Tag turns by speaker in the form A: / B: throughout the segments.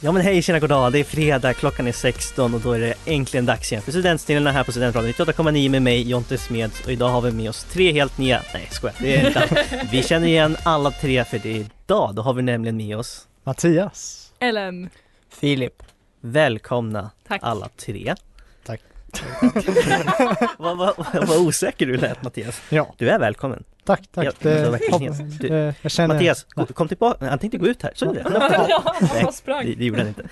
A: Ja men hej, tjena, goddag. Det är fredag, klockan är 16 och då är det äntligen dags igen för Studentsnillena här på Studentradion 98,9 med mig Jonte Smeds och idag har vi med oss tre helt nya, nej skojar, det är inte Vi känner igen alla tre för det är idag, då har vi nämligen med oss
B: Mattias.
C: Ellen.
A: Filip. Välkomna
C: Tack.
A: alla tre.
B: Tack.
A: vad, vad, vad, vad osäker du lät Mattias.
B: Ja,
A: Du är välkommen.
B: tack, tack.
A: Jag-
B: det,
A: jag verkligen
B: hopp-
A: ingen- du-
B: eh, jag känner...
A: Mattias, gå- kom tillbaka, han tänkte gå ut här, såg du det? Nej,
C: Han
A: det,
C: sprang.
A: det gjorde han inte.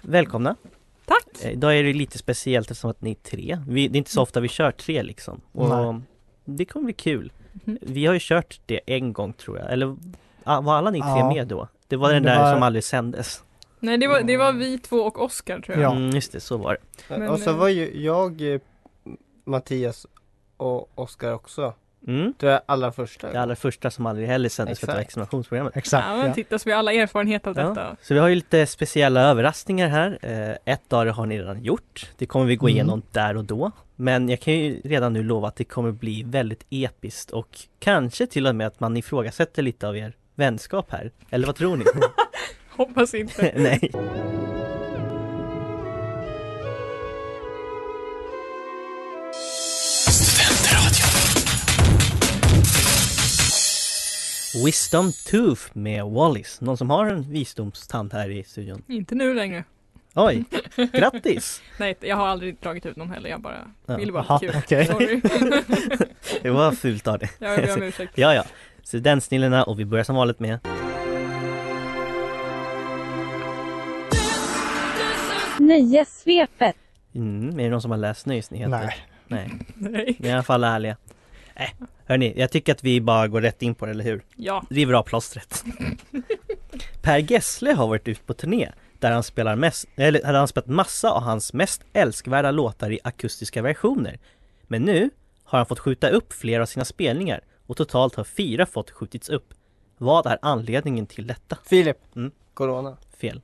A: Välkomna.
C: Tack.
A: Eh, Idag är det lite speciellt eftersom att ni är tre. Vi, det är inte så ofta vi kör tre liksom. Och
B: Nej.
A: det kommer bli kul.
C: Mhm.
A: Vi har ju kört det en gång tror jag, eller ah, var alla ni tre
B: Ja.
A: med då? Det var den
B: Det
A: där
B: var-
A: som aldrig sändes.
C: Nej det var, det var vi två och Oscar tror jag.
B: Ja.
A: Mm, just det, så var det.
C: Men,
D: och så
C: eh,
D: var ju jag, eh, Mattias och Oskar också.
A: Mm.
D: Du är allra första.
A: Det allra första som aldrig heller sändes för att det var
D: Exakt.
A: examinationsprogrammet.
B: Exakt.
C: Ja,
B: Ja,
C: men titta så vi har alla erfarenhet av
A: Ja.
C: detta.
A: Så vi har ju lite speciella överraskningar här. Eh, ett av det har ni redan gjort. Det kommer vi gå
B: Mm.
A: igenom där och då. Men jag kan ju redan nu lova att det kommer bli väldigt episkt och kanske till och med att man ifrågasätter lite av er vänskap här. Eller vad tror ni?
C: Hoppas inte.
A: Nej. Wisdom Tooth med Wallis. Någon som har en visdomstand här i studion?
C: inte nu längre.
A: Oj, grattis!
C: Nej jag har aldrig dragit ut någon heller. Jag bara
A: Ja,
C: ville bara
B: aha,
C: ha kul.
B: okej.
C: Sorry.
A: Det var fult av dig.
C: jag ber om ursäkt.
A: Ja, ja. Studentsnillena och vi börjar som vanligt med
E: Nöjessvepet.
A: mm, är det någon som har läst nyhetsnyheter?
B: Nej.
A: Nej.
C: Nej.
A: Ni är i alla fall ärliga. Äh, hörni, jag tycker att vi bara går rätt in på det, eller hur?
C: Ja.
A: river av plåstret. per Gessle har varit ut på turné där han spelar mest, eller där han spelat massa av hans mest älskvärda låtar i akustiska versioner. Men nu har han fått skjuta upp flera av sina spelningar och totalt har fyra fått skjutits upp. Vad är anledningen till detta?
D: Filip.
A: Mm.
D: Corona.
A: Fel.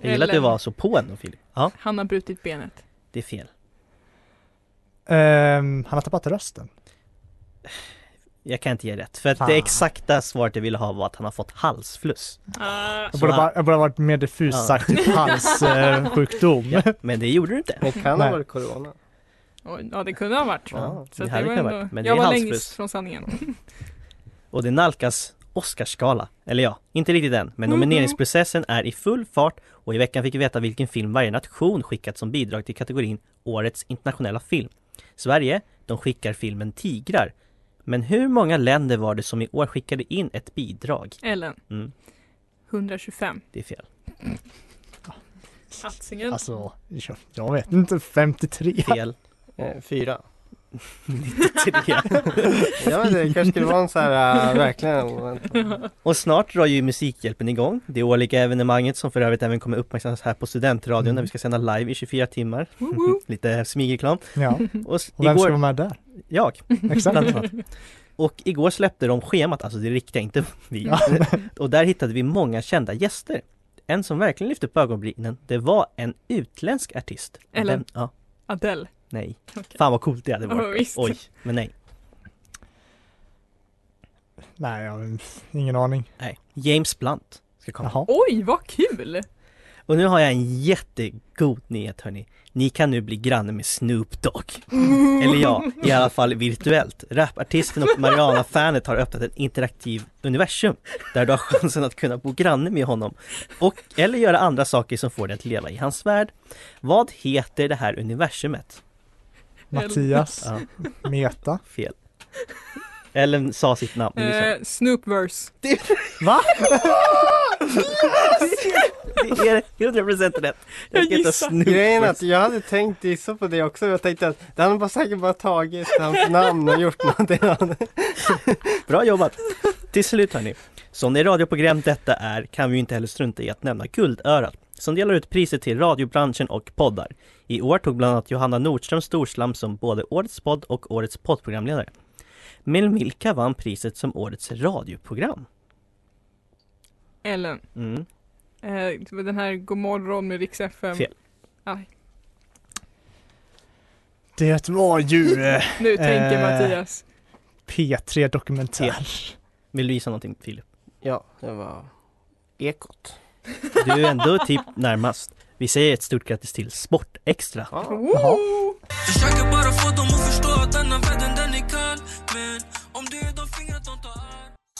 A: Jag gillar att du
C: Ellen,
A: var så på ändå Filip. Ja,
C: Han har brutit benet.
A: det är fel.
B: Ehm, han har tappat rösten.
A: Jag kan inte ge rätt, för att
B: Fan.
A: det exakta svaret jag ville ha var att han har fått halsfluss.
C: Ah,
B: Jag borde,
A: Så-
B: bara, jag borde ha varit mer diffus
A: Ja.
B: sagt, typ halssjukdom.
A: Men det gjorde du inte.
D: Det kan
B: Nej.
D: ha varit corona.
C: oj, ja det kunde han varit.
A: Ja,
C: Så
A: det
C: att det
A: hade
C: var
A: kunnat varit,
C: ändå,
A: men det
C: jag
A: är
C: var
A: halsfluss.
C: längst från sanningen.
A: och det nalkas Oscarsgala. Eller ja, inte riktigt än, men
C: Mhm.
A: nomineringsprocessen är i full fart och i veckan fick vi veta vilken film varje nation skickat som bidrag till kategorin Årets internationella film. Sverige, de skickar filmen Tigrar. Men hur många länder var det som i år skickade in ett bidrag?
C: Ellen.
A: Mm.
C: 125.
A: Det är fel.
C: Hatsingen.
B: Alltså, jag, jag vet inte, 53.
A: Fel.
D: Eh, fyra.
A: Tre.
D: Jag vet inte, det kanske skulle vara en sån här, äh, verkligen oväntad.
A: Och snart drar ju Musikhjälpen igång, det årliga evenemanget som för övrigt även kommer uppmärksammas här på Studentradion
B: Mm.
A: när vi ska sända live i 24 timmar.
C: Woo, woo.
A: Lite smygreklam.
B: Ja,
A: Och s-
B: och vem ska vara
A: igår,
B: med där?
A: jag,
B: Exakt.
A: bland annat. Och igår släppte de schemat, alltså det riktiga, inte vi.
B: Ja.
A: Och där hittade vi många kända gäster. En som verkligen lyfte på ögonbrynen, det var en utländsk artist.
C: Ellen.
A: Vem- Ja,
C: Adele.
A: nej.
C: Okej.
A: Fan vad coolt det hade
C: Ja,
A: varit.
C: visst.
A: Oj, men nej.
B: Nej, jag har ingen aning.
A: nej. James Blunt ska komma.
B: Jaha.
C: Oj vad kul!
A: Och nu har jag en jättegod nyhet hörni. Ni kan nu bli granne med Snoop Dogg. Eller ja, i alla fall virtuellt. Rapartisten och Mariana-fanet har öppnat ett interaktiv universum där du har chansen att kunna bo granne med honom och eller göra andra saker som får dig att leva i hans värld. Vad heter det här universumet?
B: Mattias,
A: Ja,
B: Meta.
A: fel. Ellen sa sitt namn. men du sa-
C: Eh, Snoopverse.
A: Va? Det är 100% rätt. Jag ska
C: Jag
A: heta
C: gissar.
A: Snoop.
D: Grejen är att jag hade tänkt gissa på det också. Jag tänkte att det hade bara säkert bara tagit hans namn och gjort någonting annat.
A: Bra jobbat! Till slut hörni, som det radioprogram detta är kan vi ju inte heller strunta i att nämna Guldörat som delar ut priser till radiobranschen och poddar. I år tog bland annat Johanna Nordström Storslam som både Årets podd och Årets poddprogramledare. Men vilka vann priset som Årets radioprogram?
C: Ellen.
A: Mm.
C: Eh, den här Godmorgon med Rix FM.
A: Fel.
C: Aj.
B: Det var ju eh,
C: Nu tänker
B: Eh.
C: Mattias.
B: P3 Dokumentär.
A: Vill du gissa någonting Filip?
D: Ja, det var Ekot.
A: Du är ändå typ närmast. Vi säger ett stort grattis till Sportextra!
D: Ja.
B: Jaha.
C: Woo!
E: Försöker bara få dem att förstå att denna världen den är kall Men om det är de fingrar de tar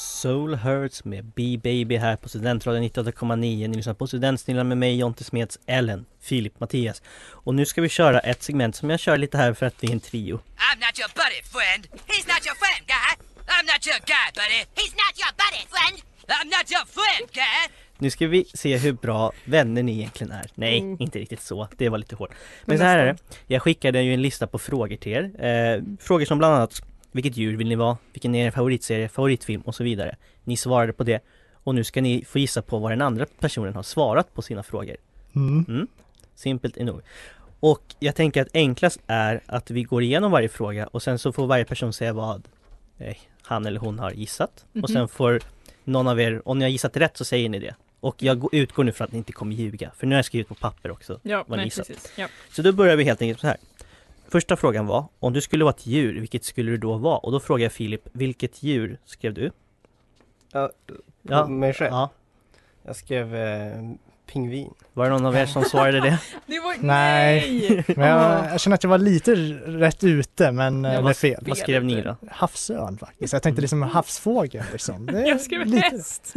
A: Soul Hurts med B-Baby här på Studentradion 98,9. Ni lyssnar på Studentsnillan med mig Jonte Smeds, Ellen, Filip, Mattias. Och nu ska vi köra ett segment som jag kör lite här för att vi är en trio.
F: I'm not your buddy friend. He's not your friend, guy. I'm not your guy, buddy. He's not your buddy friend. I'm not your friend, guy.
A: Nu ska vi se hur bra vänner ni egentligen är. Nej, inte riktigt så. Det var lite hårt. Men så
C: Men
A: här är det. Jag skickade ju en lista på frågor till er. Eh, frågor som bland annat Vilket djur vill ni vara? Vilken är er favoritserie, favoritfilm och så vidare. Ni svarade på det. Och nu ska ni få gissa på vad den andra personen har svarat på sina frågor.
B: Mm.
A: Simpelt nog. Och jag tänker att enklast är att vi går igenom varje fråga och sen så får varje person säga vad eh, han eller hon har gissat.
C: Mhm.
A: Och
C: Mm-hmm.
A: sen får någon av er, om ni har gissat rätt så säger ni det. Och jag går- utgår nu från att ni inte kommer ljuga, för nu har jag skrivit på papper också.
C: Ja,
A: Vad
C: nej,
A: gissat.
C: precis. Ja.
A: Så då börjar vi helt enkelt så här. Första frågan var, om du skulle vara ett djur, vilket skulle du då vara? Och då frågar jag Filip, vilket djur skrev du?
D: Ja,
A: ja,
D: Mig själv.
A: ja.
D: Jag skrev eh, pingvin.
A: Var det någon av er som svarade det?
C: Det var...
B: Nej.
C: Nej!
B: Men jag,
C: Ah.
B: jag känner att jag var lite r- rätt ute men
C: Ja,
B: eh, det är
A: vad-
B: fel.
A: Vad skrev ni då?
B: Havsörn faktiskt. Jag tänkte liksom havsfågel liksom. Det är
C: Jag skrev
B: lite...
C: häst.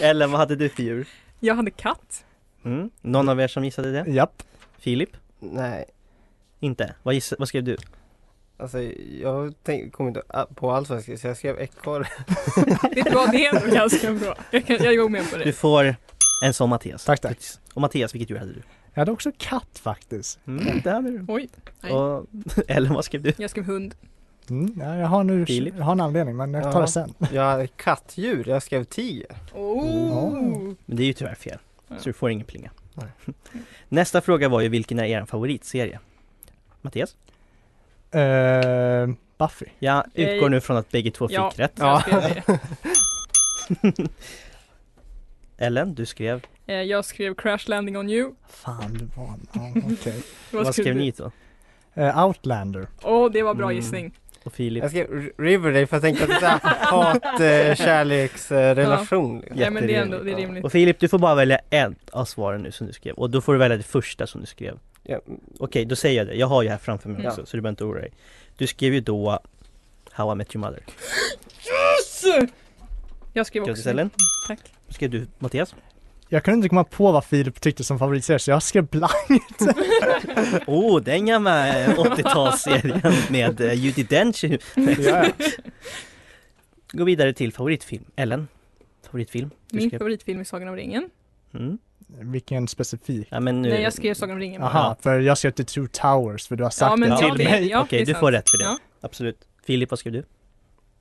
A: Eller vad hade du för djur?
C: Jag hade katt.
A: Mm. Någon av er som gissade det?
B: Japp.
A: Filip?
D: Nej,
A: Inte? Vad, giss, vad skrev du?
B: Eh.
D: alltså jag tänk, kom inte a- på alls vad jag skrev, så jag skrev ekorre.
C: Det är bra, det är ändå ganska bra. Jag, kan, jag går med på
A: Du
C: det.
A: får en sån Mattias.
B: Tack, tack.
A: Grattis. Och Mattias, vilket djur hade du?
B: Jag hade också katt faktiskt.
A: Mm, det hade du.
C: Oj. Nej.
A: Och Ellen, vad skrev du?
C: Jag skrev hund.
B: Mm, ja, jag har nu
A: Filip.
B: jag har en anledning men jag tar
D: Ja.
B: det sen.
D: Jag hade kattdjur, jag skrev tiger.
C: Oh.
A: Men det är ju tyvärr fel.
C: Ja.
A: Så du får ingen plinga.
B: Nej.
A: Nästa fråga var ju vilken är er favoritserie? Mattias?
B: Eh, Buffy.
A: Jag utgår
C: Eh,
A: nu från att bägge två
C: ja.
A: fick rätt.
C: Så jag skrev det.
A: Ellen, du skrev?
C: Eh, Jag skrev Crash Landing on You.
B: Fan du var... Ja, okej.
A: Vad skrev ni då?
B: Eh, Outlander.
C: Åh, det var bra
A: Mm.
C: gissning.
A: Och Filip?
D: Jag skrev R- Riverdale för jag tänkte att det är eh, hat-kärleksrelation.
C: Ja, men det är ändå det är
D: Jätterimligt,
C: rimligt.
A: Och Filip, du får bara välja ett av svaren nu som du skrev. Och då får du välja det första som du skrev.
D: Ja,
A: Okej, då säger jag det. Jag har ju här framför mig
C: Mm.
A: också, så du behöver inte oroa dig. Du skrev ju då How I Met Your Mother.
C: Jag skrev
A: Grattis
C: också
A: Ellen.
C: Tack.
A: Då skrev du Mattias.
B: Jag kunde inte komma på vad Filip tyckte som favoritserie så jag skrev blank.
A: Oh, den gamla eh, 80-talsserien med eh, Judi Dench.
B: Ja,
A: Gå vidare till favoritfilm. Ellen, favoritfilm? Du
C: Min
A: skrev...
C: favoritfilm är Sagan om ringen.
A: Mm.
B: Vilken specifik.
A: Ja, men nu...
C: Nej, jag skrev Sagan om ringen. bara.
B: Aha, för jag skrev till Two Towers för du har sagt
C: Ja, men
B: det
C: ja,
B: till
C: det,
B: mig.
C: ja,
A: Okej,
C: det är
A: du
C: sant.
A: får rätt för det.
C: Ja.
A: Absolut. Filip, vad skrev du?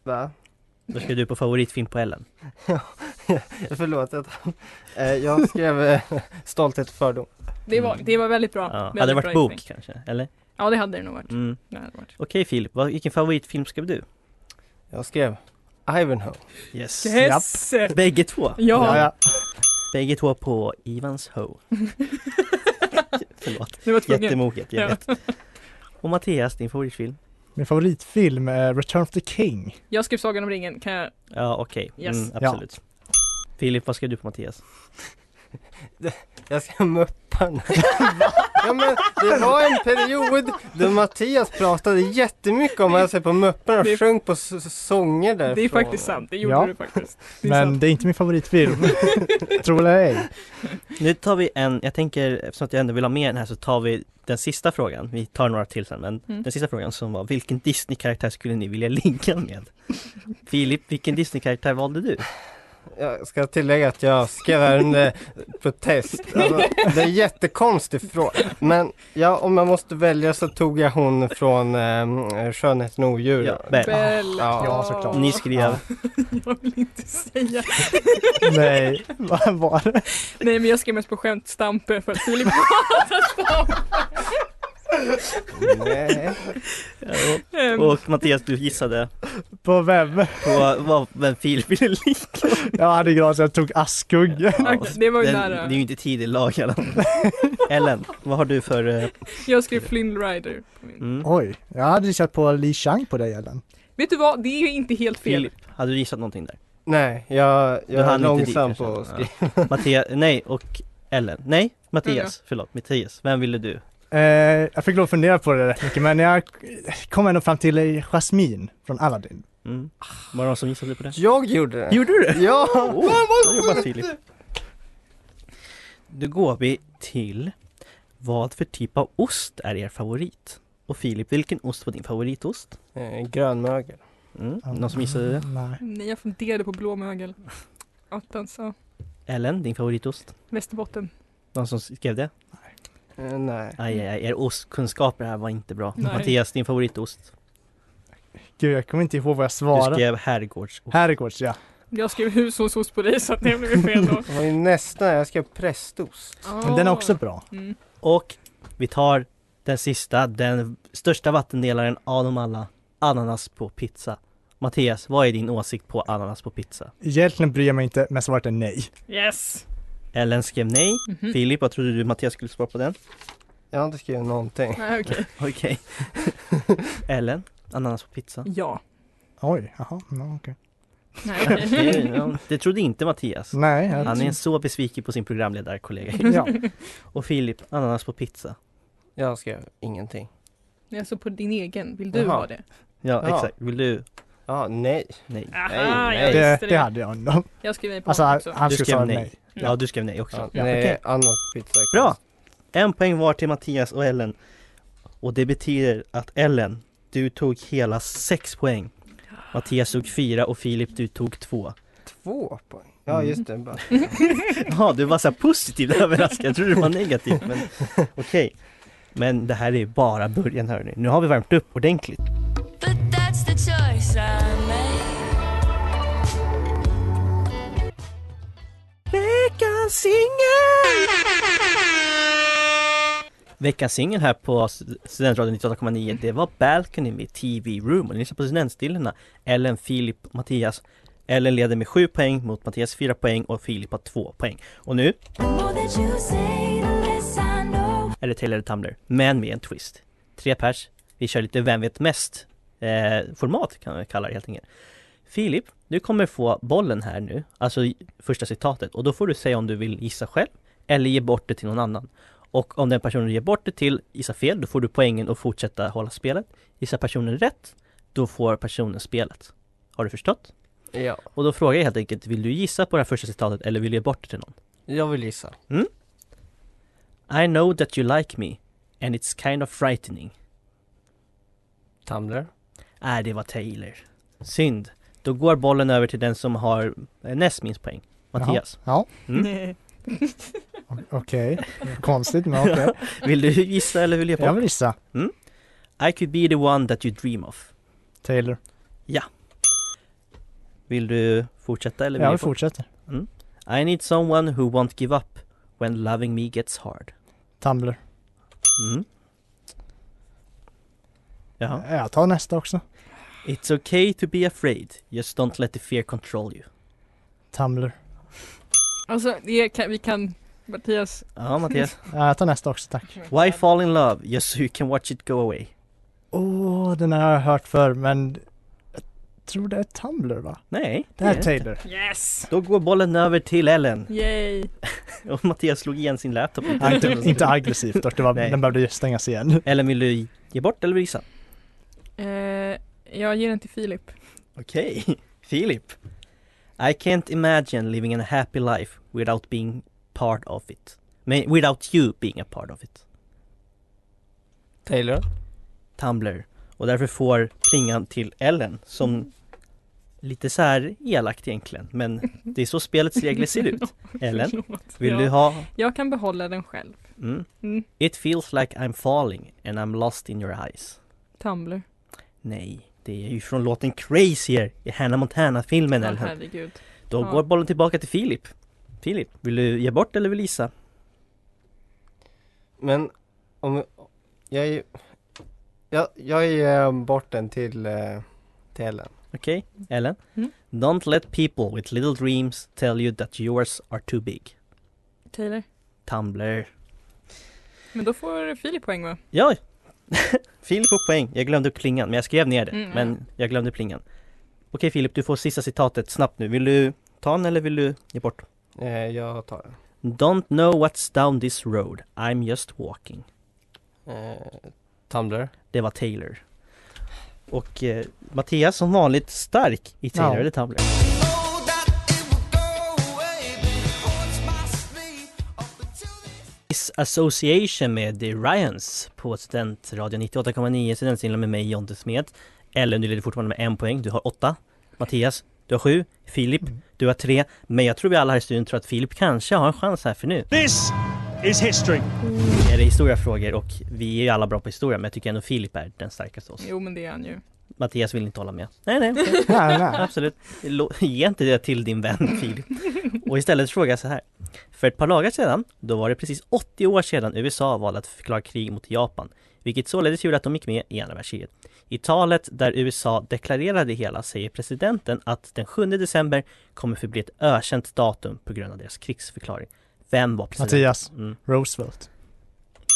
D: va?
A: Vad skrev du på favoritfilm på Ellen?
D: Förlåt att eh, Jag skrev eh, Stolthet och fördom.
C: Det, var, det var väldigt bra.
A: Ja. Hade det
C: Väldigt
A: varit
C: bra
A: bok
C: gissning.
A: kanske? Eller?
C: Ja, det hade det nog varit.
A: Mm.
C: Det hade varit.
A: Okej Filip, vad, vilken favoritfilm skrev du?
D: Jag skrev Ivanhoe.
A: Yes.
C: Yes! Ja.
A: Bägge två.
B: Ja, ja.
A: Bägge två på Evans Ho. Förlåt.
C: det var tvungen.
A: Jättemoget, jag vet. Och Mattias, din favoritfilm?
B: Min favoritfilm är Return of the King.
C: Jag skrev Sagan om ringen. Kan jag...
A: Ja, okej.
C: Yes.
A: Mm, absolut. Filip, vad skrev du på Mattias?
D: Jag ska muppa nu. ja, men Det var en period då Mattias pratade jättemycket om att se på mupparna och
C: Det-
D: sjöng på s- s- sånger därifrån.
C: Det är faktiskt sant, det gjorde
B: Ja.
C: du faktiskt. Det är
B: Men
C: sant.
B: det är inte min favoritfilm. Tror eller ej.
A: Nu tar vi en, jag tänker eftersom att jag ändå vill ha med den här så tar vi den sista frågan. Vi tar några till sen men
C: Mm.
A: den sista frågan som var vilken Disney-karaktär skulle ni vilja ligga med? Filip, vilken Disney-karaktär valde du?
D: Jag ska tillägga att jag skrev här en eh, protest. Alltså, det är en jättekonstig fråga. Men ja, om jag måste välja så tog jag hon från eh, Skönheten och odjur.
A: Ja, Bell.
C: Väl,
D: Ja,
B: såklart.
A: Ni skrev,
C: Jag vill inte säga.
B: Nej, vad var det?
C: Nej men jag skrev mest på skämt Stampe för att Filip hatar Stampe.
D: Nej.
C: Ehm,
A: och Mattias du gissade
B: På vem?
A: på vad, vem Filip ville ligga
B: Jag hade glad så jag tog Askungen.
A: med.
C: okej, det var ju
A: Den, det
C: nära.
A: är ju inte tid i lag i alla fall. Ellen, vad har du för... eh,
C: Jag skrev Flynn Rider. på min.
A: Mm.
B: Oj, jag hade kört på Li Chang på dig Ellen.
C: Vet du vad, det är ju inte helt fel.
A: Filip, hade du gissat någonting där?
D: Nej, jag,
A: Du
D: jag
A: hann
D: är
A: inte dit
D: långsam
A: kanske.
D: på att skriva.
A: Ja. Mattias, nej och Ellen, nej Mattias, förlåt Mattias, vem ville du?
B: Eh, jag fick lov att fundera på det rätt mycket men jag kom ändå fram till eh, Jasmine från Aladdin.
A: Mm. Var det någon som gissade på det?
D: Jag gjorde det.
A: Gjorde du det?
D: Ja!
A: Bra jobbat Filip! Då går vi till Vad för typ av ost är er favorit? Och Filip, vilken ost var din favoritost?
D: Eh, Grönmögel.
A: Mm. Någon som gissade det?
B: Nej.
C: Nej jag funderade på blåmögel. Attans, ja.
A: Ellen, din favoritost?
C: Västerbotten.
A: Någon som skrev det?
D: Eh, nej.
A: Aj, aj, aj, er ostkunskaper här var inte bra.
C: Nej.
A: Mattias, din favoritost?
B: Gud jag kommer inte ihåg vad jag
A: Du
B: svarade.
A: skrev herrgårdsost.
B: Herrgårds ja.
C: Jag skrev hushållsost på dig så att det blev ju fel då.
D: Det var ju nästan, jag skrev prästost.
B: Men den är också bra.
C: Mm.
A: Och vi tar den sista, den största vattendelaren av dem alla. Ananas på pizza. Mattias, vad är din åsikt på ananas på pizza?
B: Egentligen bryr jag mig inte men svaret är nej.
C: Yes!
A: Ellen skrev nej.
C: Mhm.
A: Filip, vad trodde du Mattias skulle svara på den?
D: Jag har inte skrivit någonting.
C: Nej okej.
A: Okej. Ellen, ananas på pizza.
C: Ja.
B: Oj, jaha, no, okej.
C: Nej okej.
A: Det, ja, det trodde inte Mattias.
B: Nej, jag
A: Han är så besviken på sin programledarkollega.
B: Ja.
A: Och Filip, ananas på pizza.
D: Jag skrev ingenting.
C: Alltså på din egen, vill du
D: Jaha.
C: ha det?
A: Ja,
D: Ja.
A: exakt. Vill du?
D: Ja, nej.
A: Nej.
C: Aha,
D: Nej,
C: jag
D: nej.
B: Det,
C: visste det.
B: det hade jag ändå.
C: Jag skriver på
B: Alltså
C: honom
B: han
C: också.
B: han
A: Du
B: skulle
A: skrev
B: svara
A: nej.
B: nej.
A: Ja, du skrev nej också.
D: Ja,
B: Ja,
D: nej,
B: okej.
D: annat pizza.
A: Bra! En poäng var till Mattias och Ellen. Och det betyder att Ellen, du tog hela sex poäng. Mattias tog fyra och Filip du tog två.
D: Två poäng. Ja,
A: Mm.
D: just det. Bara.
A: Ja, du var så här positivt överraskad. Jag trodde du var negativ, men okej. Men det här är bara början hörni. Nu har vi värmt upp ordentligt.
G: But that's the choice I made.
A: Veckans singel! Veckans singel här på Stud- Studentradion 98,9 det var Balcony med TV Room och ni lyssnar på Studentstillena Ellen, Filip, Mattias Ellen leder med 7 poäng mot Mattias 4 poäng och Filip har 2 poäng Och nu
G: The more that you say, the less I know.
A: är det Taylor och Tumblr men med en twist Tre pers, vi kör lite Vem vet mest eh, format kan vi kalla det helt enkelt Filip, du kommer få bollen här nu, alltså i- första citatet och då får du säga om du vill gissa själv eller ge bort det till någon annan och om den personen du ger bort det till gissar fel, då får du poängen och fortsätta hålla spelet. Gissar personen rätt, då får personen spelet. Har du förstått?
D: Ja,
A: Och då frågar jag helt enkelt, vill du gissa på det här första citatet eller vill du ge bort det till någon?
D: jag vill gissa.
A: I know that you like me, and it's kind of frightening.
D: Tumblr.
A: Nej, det var Taylor. Synd. Då går bollen över till den som har eh, näst minst poäng. Mattias. Mm.
B: Ja,
C: Nej.
B: o- okej. Konstigt men okej.
A: Vill du gissa eller vill du ge
B: Jag
A: bort?
B: vill gissa.
A: I could be the one that you dream of.
B: Taylor.
A: Vill du fortsätta eller vill
B: Ja,
A: du
B: vi
A: ge bort?
B: fortsätter.
A: I need someone who won't give up when loving me gets hard.
B: Tumblr.
A: Mm. Jaha.
B: Ja. Eh, Jag tar nästa också.
A: It's okay to be afraid, just don't let the fear control you.
B: Tumblr.
C: Alltså det kan, vi kan Mattias,
A: Ja, Mattias.
B: Ja, Eh, jag tar nästa också tack.
A: Why fall in love, just so you can watch it go away.
B: Åh, den har jag hört förr men jag tror det är Tumblr va?
A: Nej,
B: Det här
A: är
B: är
A: det inte.
B: Taylor.
C: Yes!
A: Då går bollen över till Ellen.
C: Yay!
A: Och Mattias slog igen sin laptop.
B: Nej, inte, inte aggressivt dock, det var,
A: Nej.
B: den behövde ju stängas igen.
A: Ellen, vill du ge bort eller gissa?
C: Eh, jag ger den till Filip.
A: Okej, Filip. I can't imagine living a happy life without being part of it. Men without you being a part of it.
D: Taylor?
A: Tumblr. Och därför får plingan till Ellen som lite så här elakt egentligen. Men det är så spelets regler ser ut. Ellen,
C: Förlåt.
A: vill
C: ja.
A: du ha?
C: Jag kan behålla den själv.
A: Mm.
C: Mm.
A: It feels like I'm falling and I'm lost in your eyes.
C: Tumblr.
A: Nej, det är ju från låten Crazier i Hannah Montana-filmen
C: Ja,
A: Ellen.
C: herregud.
A: Då
C: Ja.
A: går bollen tillbaka till Filip. Filip, vill du ge bort eller vill du gissa?
D: Men om jag är- jag, jag ger bort den till, eh, till Ellen.
A: Okej, Ellen?
C: Mm.
A: Don't let people with little dreams tell you that yours are too big.
C: Taylor.
A: Tumblr.
C: Men då får Filip poäng va?
A: Ja! Filip får poäng. Jag glömde plingan, men jag skrev ner det.
C: Mm, ja.
A: Men jag glömde plingan. Okej Filip, du får sista citatet snabbt nu. Vill du ta den eller vill du ge bort?
D: Eh, jag tar den.
A: Don't know what's down this road, I'm just walking.
D: Eh, Tumblr.
A: Det var Taylor. Och eh, Mattias som vanligt stark i Taylor
B: Ja.
A: eller Tumblr. Kiss Association med The Ryans på Studentradio 98,9 Studentsinlen med mig Jonte Smed. Ellen, du leder fortfarande med en poäng. Du har åtta. Mattias, du har sju. Filip, du har tre. Men jag tror vi alla här i studion tror att Filip kanske har en chans här för nu.
H: This is history.
A: Är det historiafrågor och vi är ju alla bra på historia men jag tycker ändå Filip är den starkaste av oss.
C: Jo men det är han ju.
A: Mattias vill inte hålla med. Nej, nej, okej.
B: Nej, nej.
A: Absolut. Lo- Ge inte det till din vän Filip. Och istället fråga jag så här. För ett par dagar sedan, då var det precis 80 år sedan USA valde att förklara krig mot Japan, vilket således gjorde att de gick med i andra världskriget. I talet där USA deklarerade det hela säger presidenten att den 7 december kommer förbli ett ökänt datum på grund av deras krigsförklaring. Vem var president?
B: Mattias,
A: Mm,
B: Roosevelt.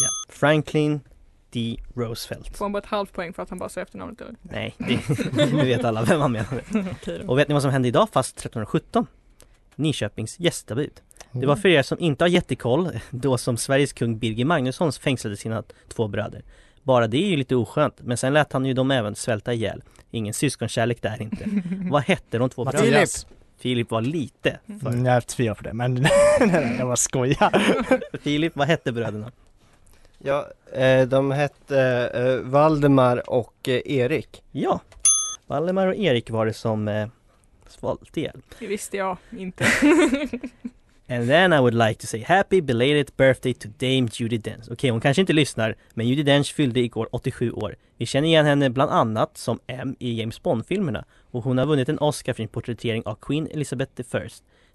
A: ja. Franklin D. Roosevelt.
C: Får han bara ett halvt poäng för att han bara sa efternamnet eller?
A: Nej, det, det vet alla vem han menade. Och vet ni vad som hände idag fast 1317? Nyköpings gästabud. Det var för er som inte har jättekoll då som Sveriges kung Birger Magnusson fängslade sina två bröder. Bara det är ju lite oskönt, men sen lät han ju dem även svälta ihjäl. Ingen syskonkärlek där inte. Vad hette de två bröderna?
B: Mattias.
A: Filip var lite för.
B: Mm, jag tvivlar på det, men nej, nej, jag bara skojar.
A: Filip, vad hette bröderna?
D: Ja, eh, de hette eh, Valdemar och eh, Erik.
A: Ja, Valdemar och Erik var det som eh, svalte ihjäl.
C: Det visste jag inte.
A: And then I would like to say happy belated birthday to Dame Judi Dench. Okej, hon kanske inte lyssnar, men Judi Dench fyllde igår 87 år. Vi känner igen henne bland annat som M i James Bond-filmerna och hon har vunnit en Oscar för sin porträttering av Queen Elizabeth I.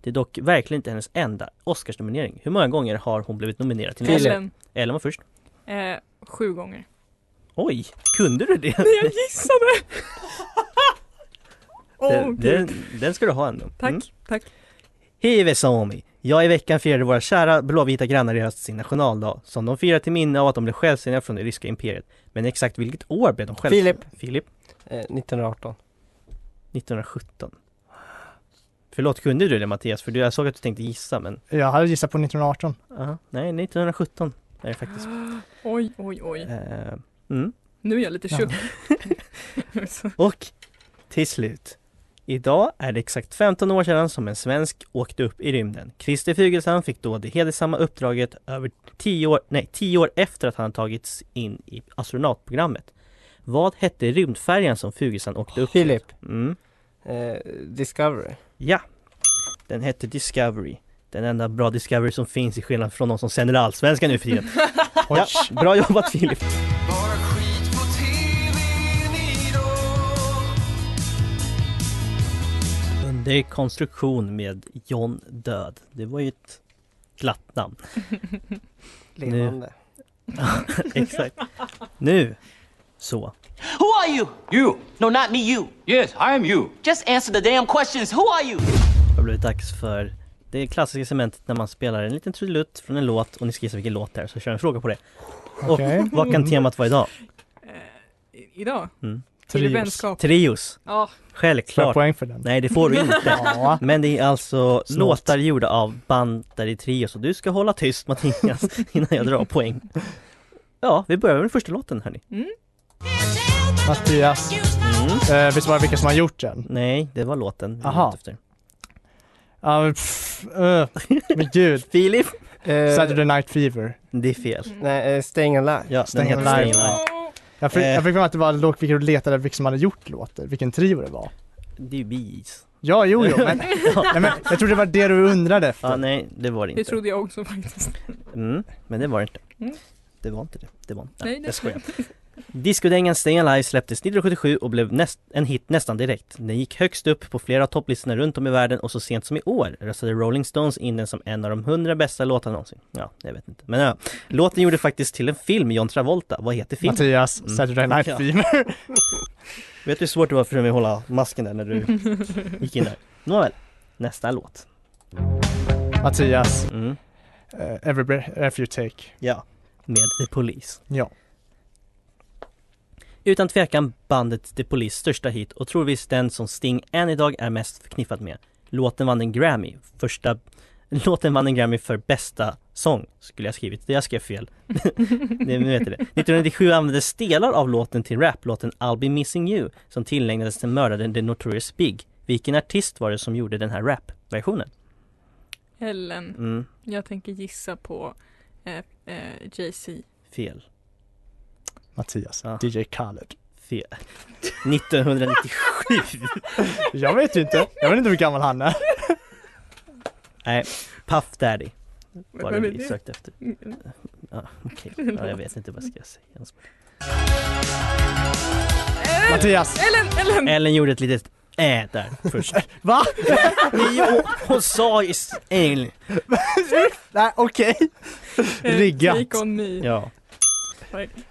A: Det är dock verkligen inte hennes enda Oscarsnominering. Hur många gånger har hon blivit nominerad till en Oscar?
C: Ellen.
A: Ellen var först.
C: Eh, sju gånger.
A: Oj, kunde du det?
C: Nej jag gissade! Åh
A: den,
C: gud.
A: den, den ska du ha ändå.
C: Tack,
A: Mm.
C: tack.
A: Hej Vesaomi! Jag i veckan firade våra kära blåvita grannar i höst sin nationaldag som de firar till minne av att de blev självständiga från det ryska imperiet. Men exakt vilket år blev de självständiga? Filip! Filip,
D: Eh, 1918.
A: 1917. Förlåt, kunde du det Mattias? För du- jag såg att du tänkte gissa men...
B: Jag hade gissat på 1918.
A: Aha, nej, 1917 är det faktiskt.
C: Oj, oj, oj.
A: Eh, mm.
C: Nu är jag lite
B: Ja.
C: tjock. Så,
A: Och till slut. Idag är det exakt 15 år sedan som en svensk åkte upp i rymden. Christer Fuglesang fick då det hedersamma uppdraget över 10 år, nej, 10 år efter att han tagits in i astronautprogrammet. Vad hette rymdfärjan som Fuglesang åkte upp med?
D: Filip.
A: Mm.
D: Eh, Discovery.
A: Ja, den hette Discovery. Den enda bra Discovery som finns i skillnad från de som sänder Allsvenskan nu för tiden. ja, bra jobbat Filip!
E: Bara skit på tvn idag
A: Under konstruktion med John Död. Det var ju ett glatt namn.
D: Levande.
A: Exakt. Nu så.
E: Who are you? You. No, not me, you. Yes, I am you. Just answer the damn questions. Who are you?
A: har det blivit dags för det klassiska segmentet när man spelar en liten trudelutt från en låt och ni ska gissa vilken låt det är så kör jag en fråga på det.
B: Okej.
A: Och vad kan temat vara idag?
C: i- idag?
A: Mm.
I: Till vänskap.
A: Trios.
I: Ja.
B: Får jag
A: Självklart.
B: poäng för den?
A: Nej det får du inte.
B: Ja.
A: Men det är alltså
B: Snålt.
A: låtar gjorda av band där det är trios och du ska hålla tyst Mattias innan jag drar poäng. Ja, vi börjar med den första låten hörni.
B: Mattias,
A: Mm.
B: eh, visst var det vilka som har gjort den?
A: Nej, det var låten. vi
B: Aha.
A: var ute Efter.
B: Ja, men pff, eh, men gud.
A: Filip!
D: Eh,
B: Saturday Night Fever.
A: Det är fel.
C: Mm.
D: nej, eh, Staying Alive.
A: Ja,
B: Stäng
A: den heter
B: Alive.
A: Staying Alive.
B: Jag fick,
A: Eh.
B: jag fick för mig att det var låg, vilka du letade vilka som hade gjort låter, vilken trio det var.
A: Det är ju Bees.
B: Ja, jo, jo, men, nej, men jag tror det var det du undrade
A: Ja,
B: efter.
A: nej, det var det inte.
C: Det trodde jag också faktiskt.
A: Mm, men det var det inte.
C: Mm.
A: Det var inte det. Det var inte. Nej,
C: Nej, det-
A: jag skojar. Discodängan Stay Alive släpptes 1977 och blev näst, en hit nästan direkt. Den gick högst upp på flera av topplistorna runt om i världen och så sent som i år röstade Rolling Stones in den som en av de 100 bästa låtarna någonsin. Ja, jag vet inte. Men ja, låten gjorde faktiskt till en film med John Travolta. Vad heter filmen?
B: Mattias,
A: Mm.
B: Saturday Night
A: Ja.
B: Fever.
A: Vet du hur svårt det var för mig att hålla masken där när du gick in där? Nåväl, nästa låt.
B: Mattias,
A: Mm.
B: eh, Every Breath You Take.
A: Ja, med The Police.
B: Ja.
A: Utan tvekan bandet The Police största hit och troligtvis den som Sting än idag är mest förknippad med. Låten vann en Grammy, första Låten vann en Grammy för bästa sång, skulle jag skrivit. Det jag skrev fel. det, nu vet jag det. 1997 användes delar av låten till raplåten I'll be missing you, som tillägnades till mördaren The Notorious Big. Vilken artist var det som gjorde den här rapversionen?
C: Helen,
A: Mm,
C: jag tänker gissa på eh, eh, Jay-Z.
A: fel.
B: Mattias,
A: Ja.
B: DJ Khaled.
A: Fel. 1997.
B: Jag vet ju inte. Jag vet inte hur gammal han är.
A: Nej, Puff Daddy var det
C: Vem är
A: vi
C: det?
A: sökte efter. Ja, okej. Ja, jag vet inte vad jag ska säga. ens.
B: Mattias,
C: Ellen, Ellen!
A: Ellen gjorde ett litet äh där först.
B: va?
A: Jo, hon sa ju s- Ellen.
B: Nej, okej.
C: Eh,
B: riggat.
C: Take on me.
A: Ja.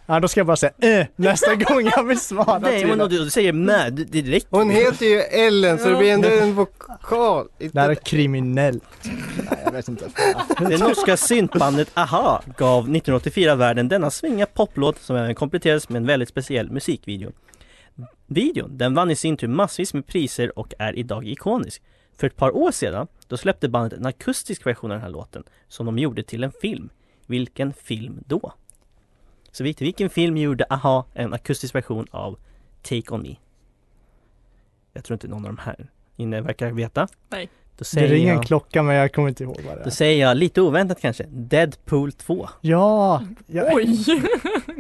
B: Ja, då ska jag bara säga eh, nästa gång jag vill svara
A: Nej, men
B: till.
A: du, du säger med, det det räcker.
D: Hon heter ju Ellen så det blir ändå en vokal.
B: Det här är kriminellt. Nej, jag vet inte.
A: Det norska syntbandet AHA gav 1984 världen denna svinga poplåt som även kompletterades med en väldigt speciell musikvideo. Videon, den vann i sin tur massvis med priser och är idag ikonisk. För ett par år sedan, då släppte bandet en akustisk version av den här låten som de gjorde till en film. Vilken film då? Så vet du vilken film gjorde AHA en akustisk version av Take On Me? Jag tror inte någon av de här inne verkar veta.
C: Nej.
A: Då
B: Det
A: säger
B: ringer en
A: jag-
B: klocka men jag kommer inte ihåg vad det
A: då
B: är.
A: säger jag lite oväntat kanske, Deadpool 2.
B: Ja, jag,
C: Oj!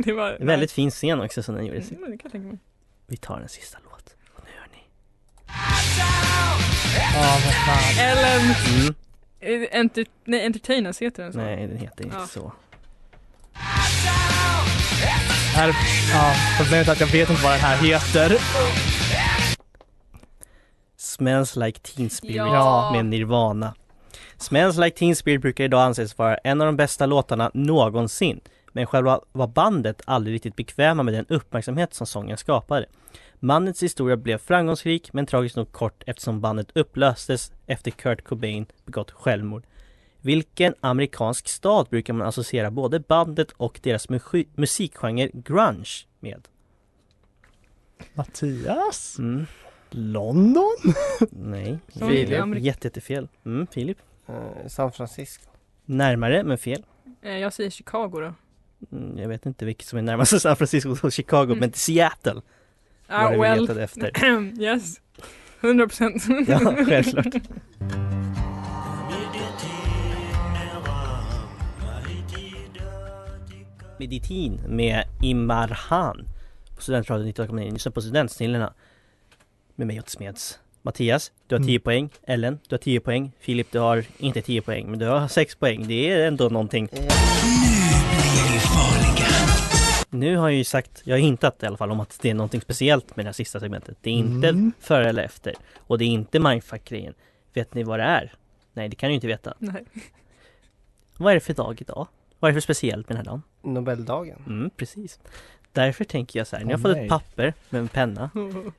C: det var...
A: En väldigt fin scen också som den gjorde.
C: Mm, det kan jag tänka mig.
A: Vi tar den sista låt. Och nu hör ni.
B: ja, vad fan.
C: Ellen!
A: Mm.
C: Eh, Enter... Nej, Entertainers heter den så.
A: Nej, den heter inte
C: Ja.
A: så.
B: Här, ja, problemet är att jag vet inte vad den här heter.
A: Smells like Teen Spirit
B: Ja.
A: med Nirvana. Smells like Teen Spirit brukar idag anses vara en av de bästa låtarna någonsin. Men själva var bandet aldrig riktigt bekväma med den uppmärksamhet som sången skapade. Mannets historia blev framgångsrik men tragiskt nog kort eftersom bandet upplöstes efter Kurt Cobain begått självmord. Vilken amerikansk stad brukar man associera både bandet och deras musik- musikgenre grunge med?
B: Mattias?
A: Mm,
B: London?
A: nej,
C: Som
D: Filip.
C: i Amerika-
A: Jätte, jättefel. Mm, Filip.
D: Eh, San Francisco.
A: Närmare men fel.
C: Eh, Jag säger Chicago då.
A: Mm, Jag vet inte vilket som är närmast San Francisco och Chicago,
C: Mm.
A: men Seattle
C: Ah,
A: var det vi
C: well.
A: letade efter.
C: yes. 100 procent.
A: Ja, självklart.
E: Hmm?
A: Meditin med Imar Han på Studentradion 19,9. Lyssna på Studentsnillena med mig Otto Smeds. Mattias, du har 10
B: Mm.
A: poäng. Ellen, du har 10 poäng. Filip, du har inte 10 poäng, men du har 6 poäng. Det är ändå någonting. Nu har jag ju sagt, jag har hintat i alla fall om att det är någonting speciellt med det här sista segmentet. Det är inte
B: Mm.
A: före eller efter. Och det är inte mindfuck-grejen. Vet ni vad det är? Nej, det kan du inte veta.
C: Nej.
A: Vad är det för dag idag? Vad är det för speciellt med den här dagen?
D: Nobeldagen.
A: Mm, precis. Därför tänker jag så här, ni
B: Åh,
A: har fått
B: nej.
A: ett papper med en penna.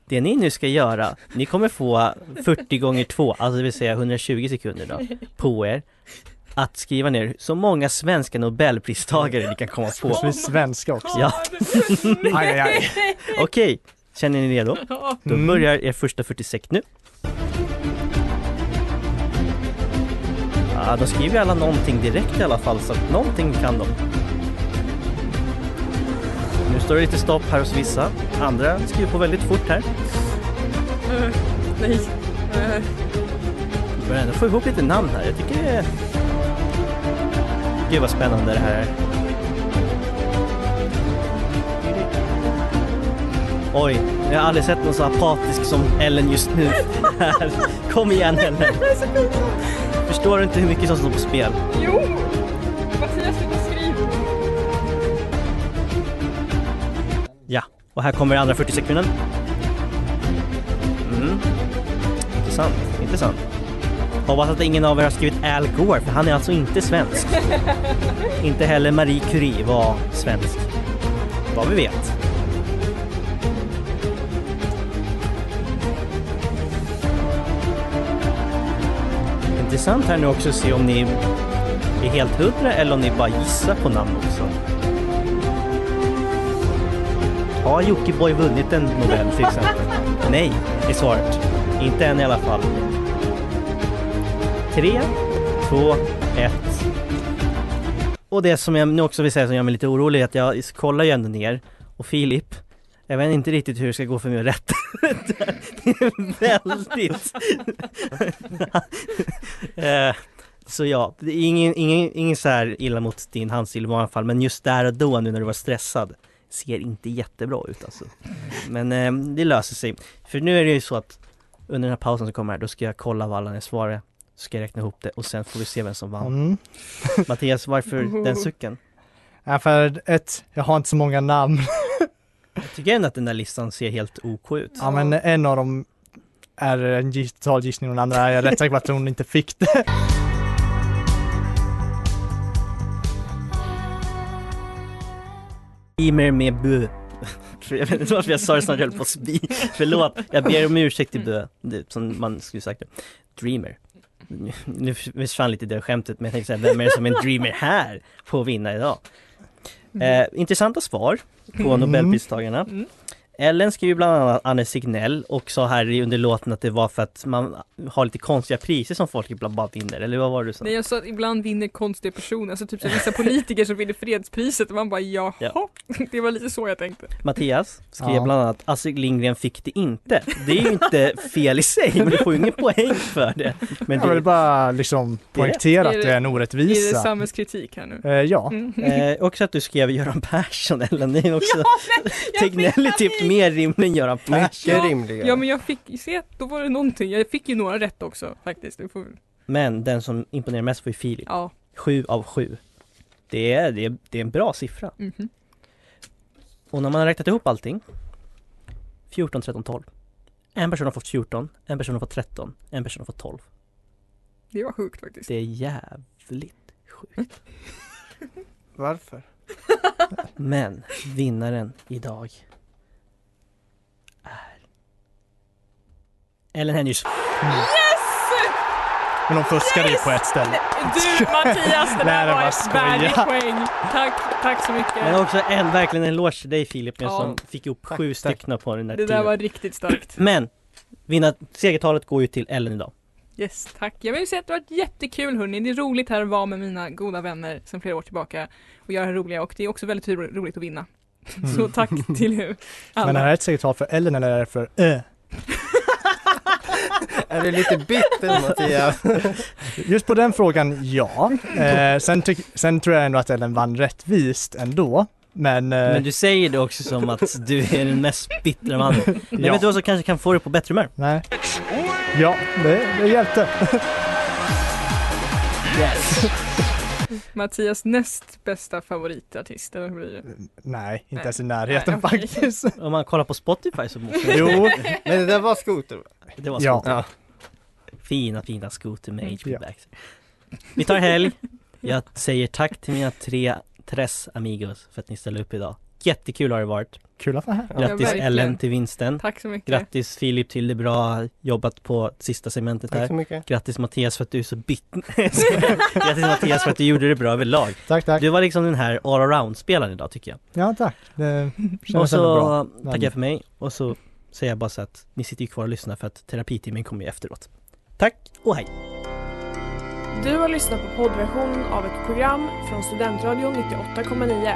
A: Det ni nu ska göra, ni kommer få 40 gånger 2, alltså det vill säga 120 sekunder då, på er att skriva ner så många svenska nobelpristagare ni kan komma på.
B: Förhoppningsvis svenska också.
A: Ja.
B: Aj, aj, aj.
A: Okej, Känner ni redo?
C: Ja.
A: Då
B: Mm.
A: börjar er första 46 nu. Ja, de skriver ju alla någonting direkt i alla fall, så att någonting kan de. Nu står det lite stopp här hos vissa. Andra skriver på väldigt fort här.
C: Eh, nej. Eh,
A: Vi börjar ändå få ihop lite namn här. Jag tycker det är... Gud vad spännande det här är. Oj, jag har aldrig sett någon så apatisk som Ellen just nu. Här. Kom igen Ellen! Förstår du inte hur mycket som står på spel?
C: jo! Mattias, sluta skriva.
A: Ja, och här kommer andra 40 sekunden. Mm. Intressant, intressant. Hoppas att ingen av er har skrivit Al Gore, för han är alltså inte svensk. inte heller Marie Curie var svensk. Vad vi vet. Intressant här nu också att se om ni är helt hundra eller om ni bara gissar på namn också. Har Jockiboi vunnit en Nobel till exempel? Nej, är svaret. Inte än i alla fall. Tre, två, ett. Och det som jag nu också vill säga som gör mig lite orolig är att jag kollar ju ändå ner och Filip, jag vet inte riktigt hur det ska gå för mig att rätta det är väldigt... Eh, så ja, det är ingen, ingen, ingen så här illa mot din handstil i vanliga fall, men just där och då nu när du var stressad ser inte jättebra ut alltså. Men eh, det löser sig. För nu är det ju så att under den här pausen som kommer här, då ska jag kolla vad alla ni svarar. Så ska jag räkna ihop det och sen får vi se vem som vann.
B: Mm.
A: Mattias, varför den sucken?
B: Ja, för ett, jag har inte så många namn.
A: Jag tycker ändå att den där listan ser helt OK ut.
B: Ja, men en av dem är en digital gissning och den andra är jag rätt säker på att hon inte fick det.
A: Imer med bö. Jag vet inte varför jag sa det snart, jag höll på att spy. Förlåt, jag ber om ursäkt till bö. Det, som man skulle sagt det. Dreamer. Nu- Nu försvann lite det skämtet men jag tänkte säga, vem är det som är en dreamer här? På att vinna idag. Eh, intressanta svar på
B: Mm.
A: Nobelpristagarna.
C: Mm.
A: Ellen skrev ju bland annat Anne Signell och sa här i under låten att det var för att man har lite konstiga priser som folk ibland bara vinner, eller vad var det du sa?
C: Nej, jag sa att ibland vinner konstiga personer, alltså typ så här, vissa politiker som vinner fredspriset och man bara jaha.
A: Ja.
C: Det var lite så jag tänkte.
A: Mattias skrev
B: Ja.
A: bland annat Astrid Lindgren fick det inte. Det är ju inte fel i sig men du får ju ingen poäng för det. Men
B: Jag
A: det,
B: vill bara liksom poängtera att det är en
C: Är det
B: orättvisa.
C: samhällskritik här nu?
B: Eh, Ja,
C: Mm.
A: Eh, också att du skrev Göran Persson Ellen, det är också
C: jag
A: Tegnell är
C: fick
A: typ mer rimlig än Göran Persson.
D: Mycket
C: Ja
D: rimligare.
C: men jag fick, se då var det någonting, jag fick ju några rätt också faktiskt. Det får,
A: Men den som imponerar mest var ju Filip.
C: ja.
A: Sju av sju. Det är, det, är, det är en bra siffra.
C: mhm.
A: Och när man har räknat ihop allting 14, 13, 12. En person har fått 14, en person har fått 13, en person har fått 12.
C: Det var sjukt faktiskt.
A: Det är jävligt sjukt.
D: Varför?
A: Men vinnaren idag är Ellen Henrys.
B: men de fuskade ju på ett ställe.
C: Du Mattias,
B: Nej,
C: det där
B: det
C: var
B: var
C: ett
B: skoj.
C: värdigt
B: Ja.
C: poäng. Tack, tack så
A: Men
C: mycket.
A: också en, verkligen en eloge till dig Filip
C: Ja.
A: som fick ihop
D: Tack,
A: sju
D: tack.
A: stycken på den där
C: Det
A: tiden.
C: där var riktigt starkt.
A: Men vinna, segertalet går ju till Ellen idag.
C: Yes, tack. Jag vill säga att det har varit jättekul hörni. Det är roligt här att vara med mina goda vänner sedan flera år tillbaka och göra det här roliga och det är också väldigt ro- roligt att vinna. Så tack till er alla.
B: Men är det ett säkert tal för Ellen eller är det för Ö?
D: Är du lite bitter Mattias?
B: Just på den frågan, ja. Eh, sen, tyck- sen tror jag ändå att Ellen vann rättvist ändå. Men, eh,
A: Men du säger det också som att du är den mest bittra mannen. Men
B: Ja.
A: vet du vad som kanske kan få dig på bättre humör?
B: nej. Ja, det, det hjälpte.
C: Mattias näst bästa favoritartist, eller hur blir
B: Mm.
C: det?
B: Nej, inte
C: Nej.
B: ens i närheten
C: Nej, okej.
B: faktiskt.
A: Om man kollar på Spotify så måste
B: Jo,
D: Men det där var skoter.
A: det vara
B: Ja.
A: skoter. Fina, fina skoter med
B: Mm.
A: HP
B: Ja.
A: Backs. Vi tar helg. Jag säger tack till mina tre Tres Amigos för att ni ställde upp idag. Jättekul har det varit.
B: Kul att vara här.
A: Grattis
C: verkligen.
A: Ellen till vinsten.
C: Tack så mycket.
A: Grattis Filip till det bra jobbat på sista segmentet
D: Tack så
A: där.
D: mycket.
A: Grattis Mattias för att du är så bit... Grattis Mattias för att du gjorde det bra överlag.
B: Tack, tack.
A: Du var liksom den här all around-spelaren idag tycker jag.
B: Ja, tack. Det
A: och
B: kändes ändå bra.
A: så tackar jag för mig och så säger jag bara så att ni sitter ju kvar och lyssnar för att terapitimmen kommer ju efteråt. Tack och hej!
I: Du har lyssnat på poddversionen av ett program från Studentradion 98,9.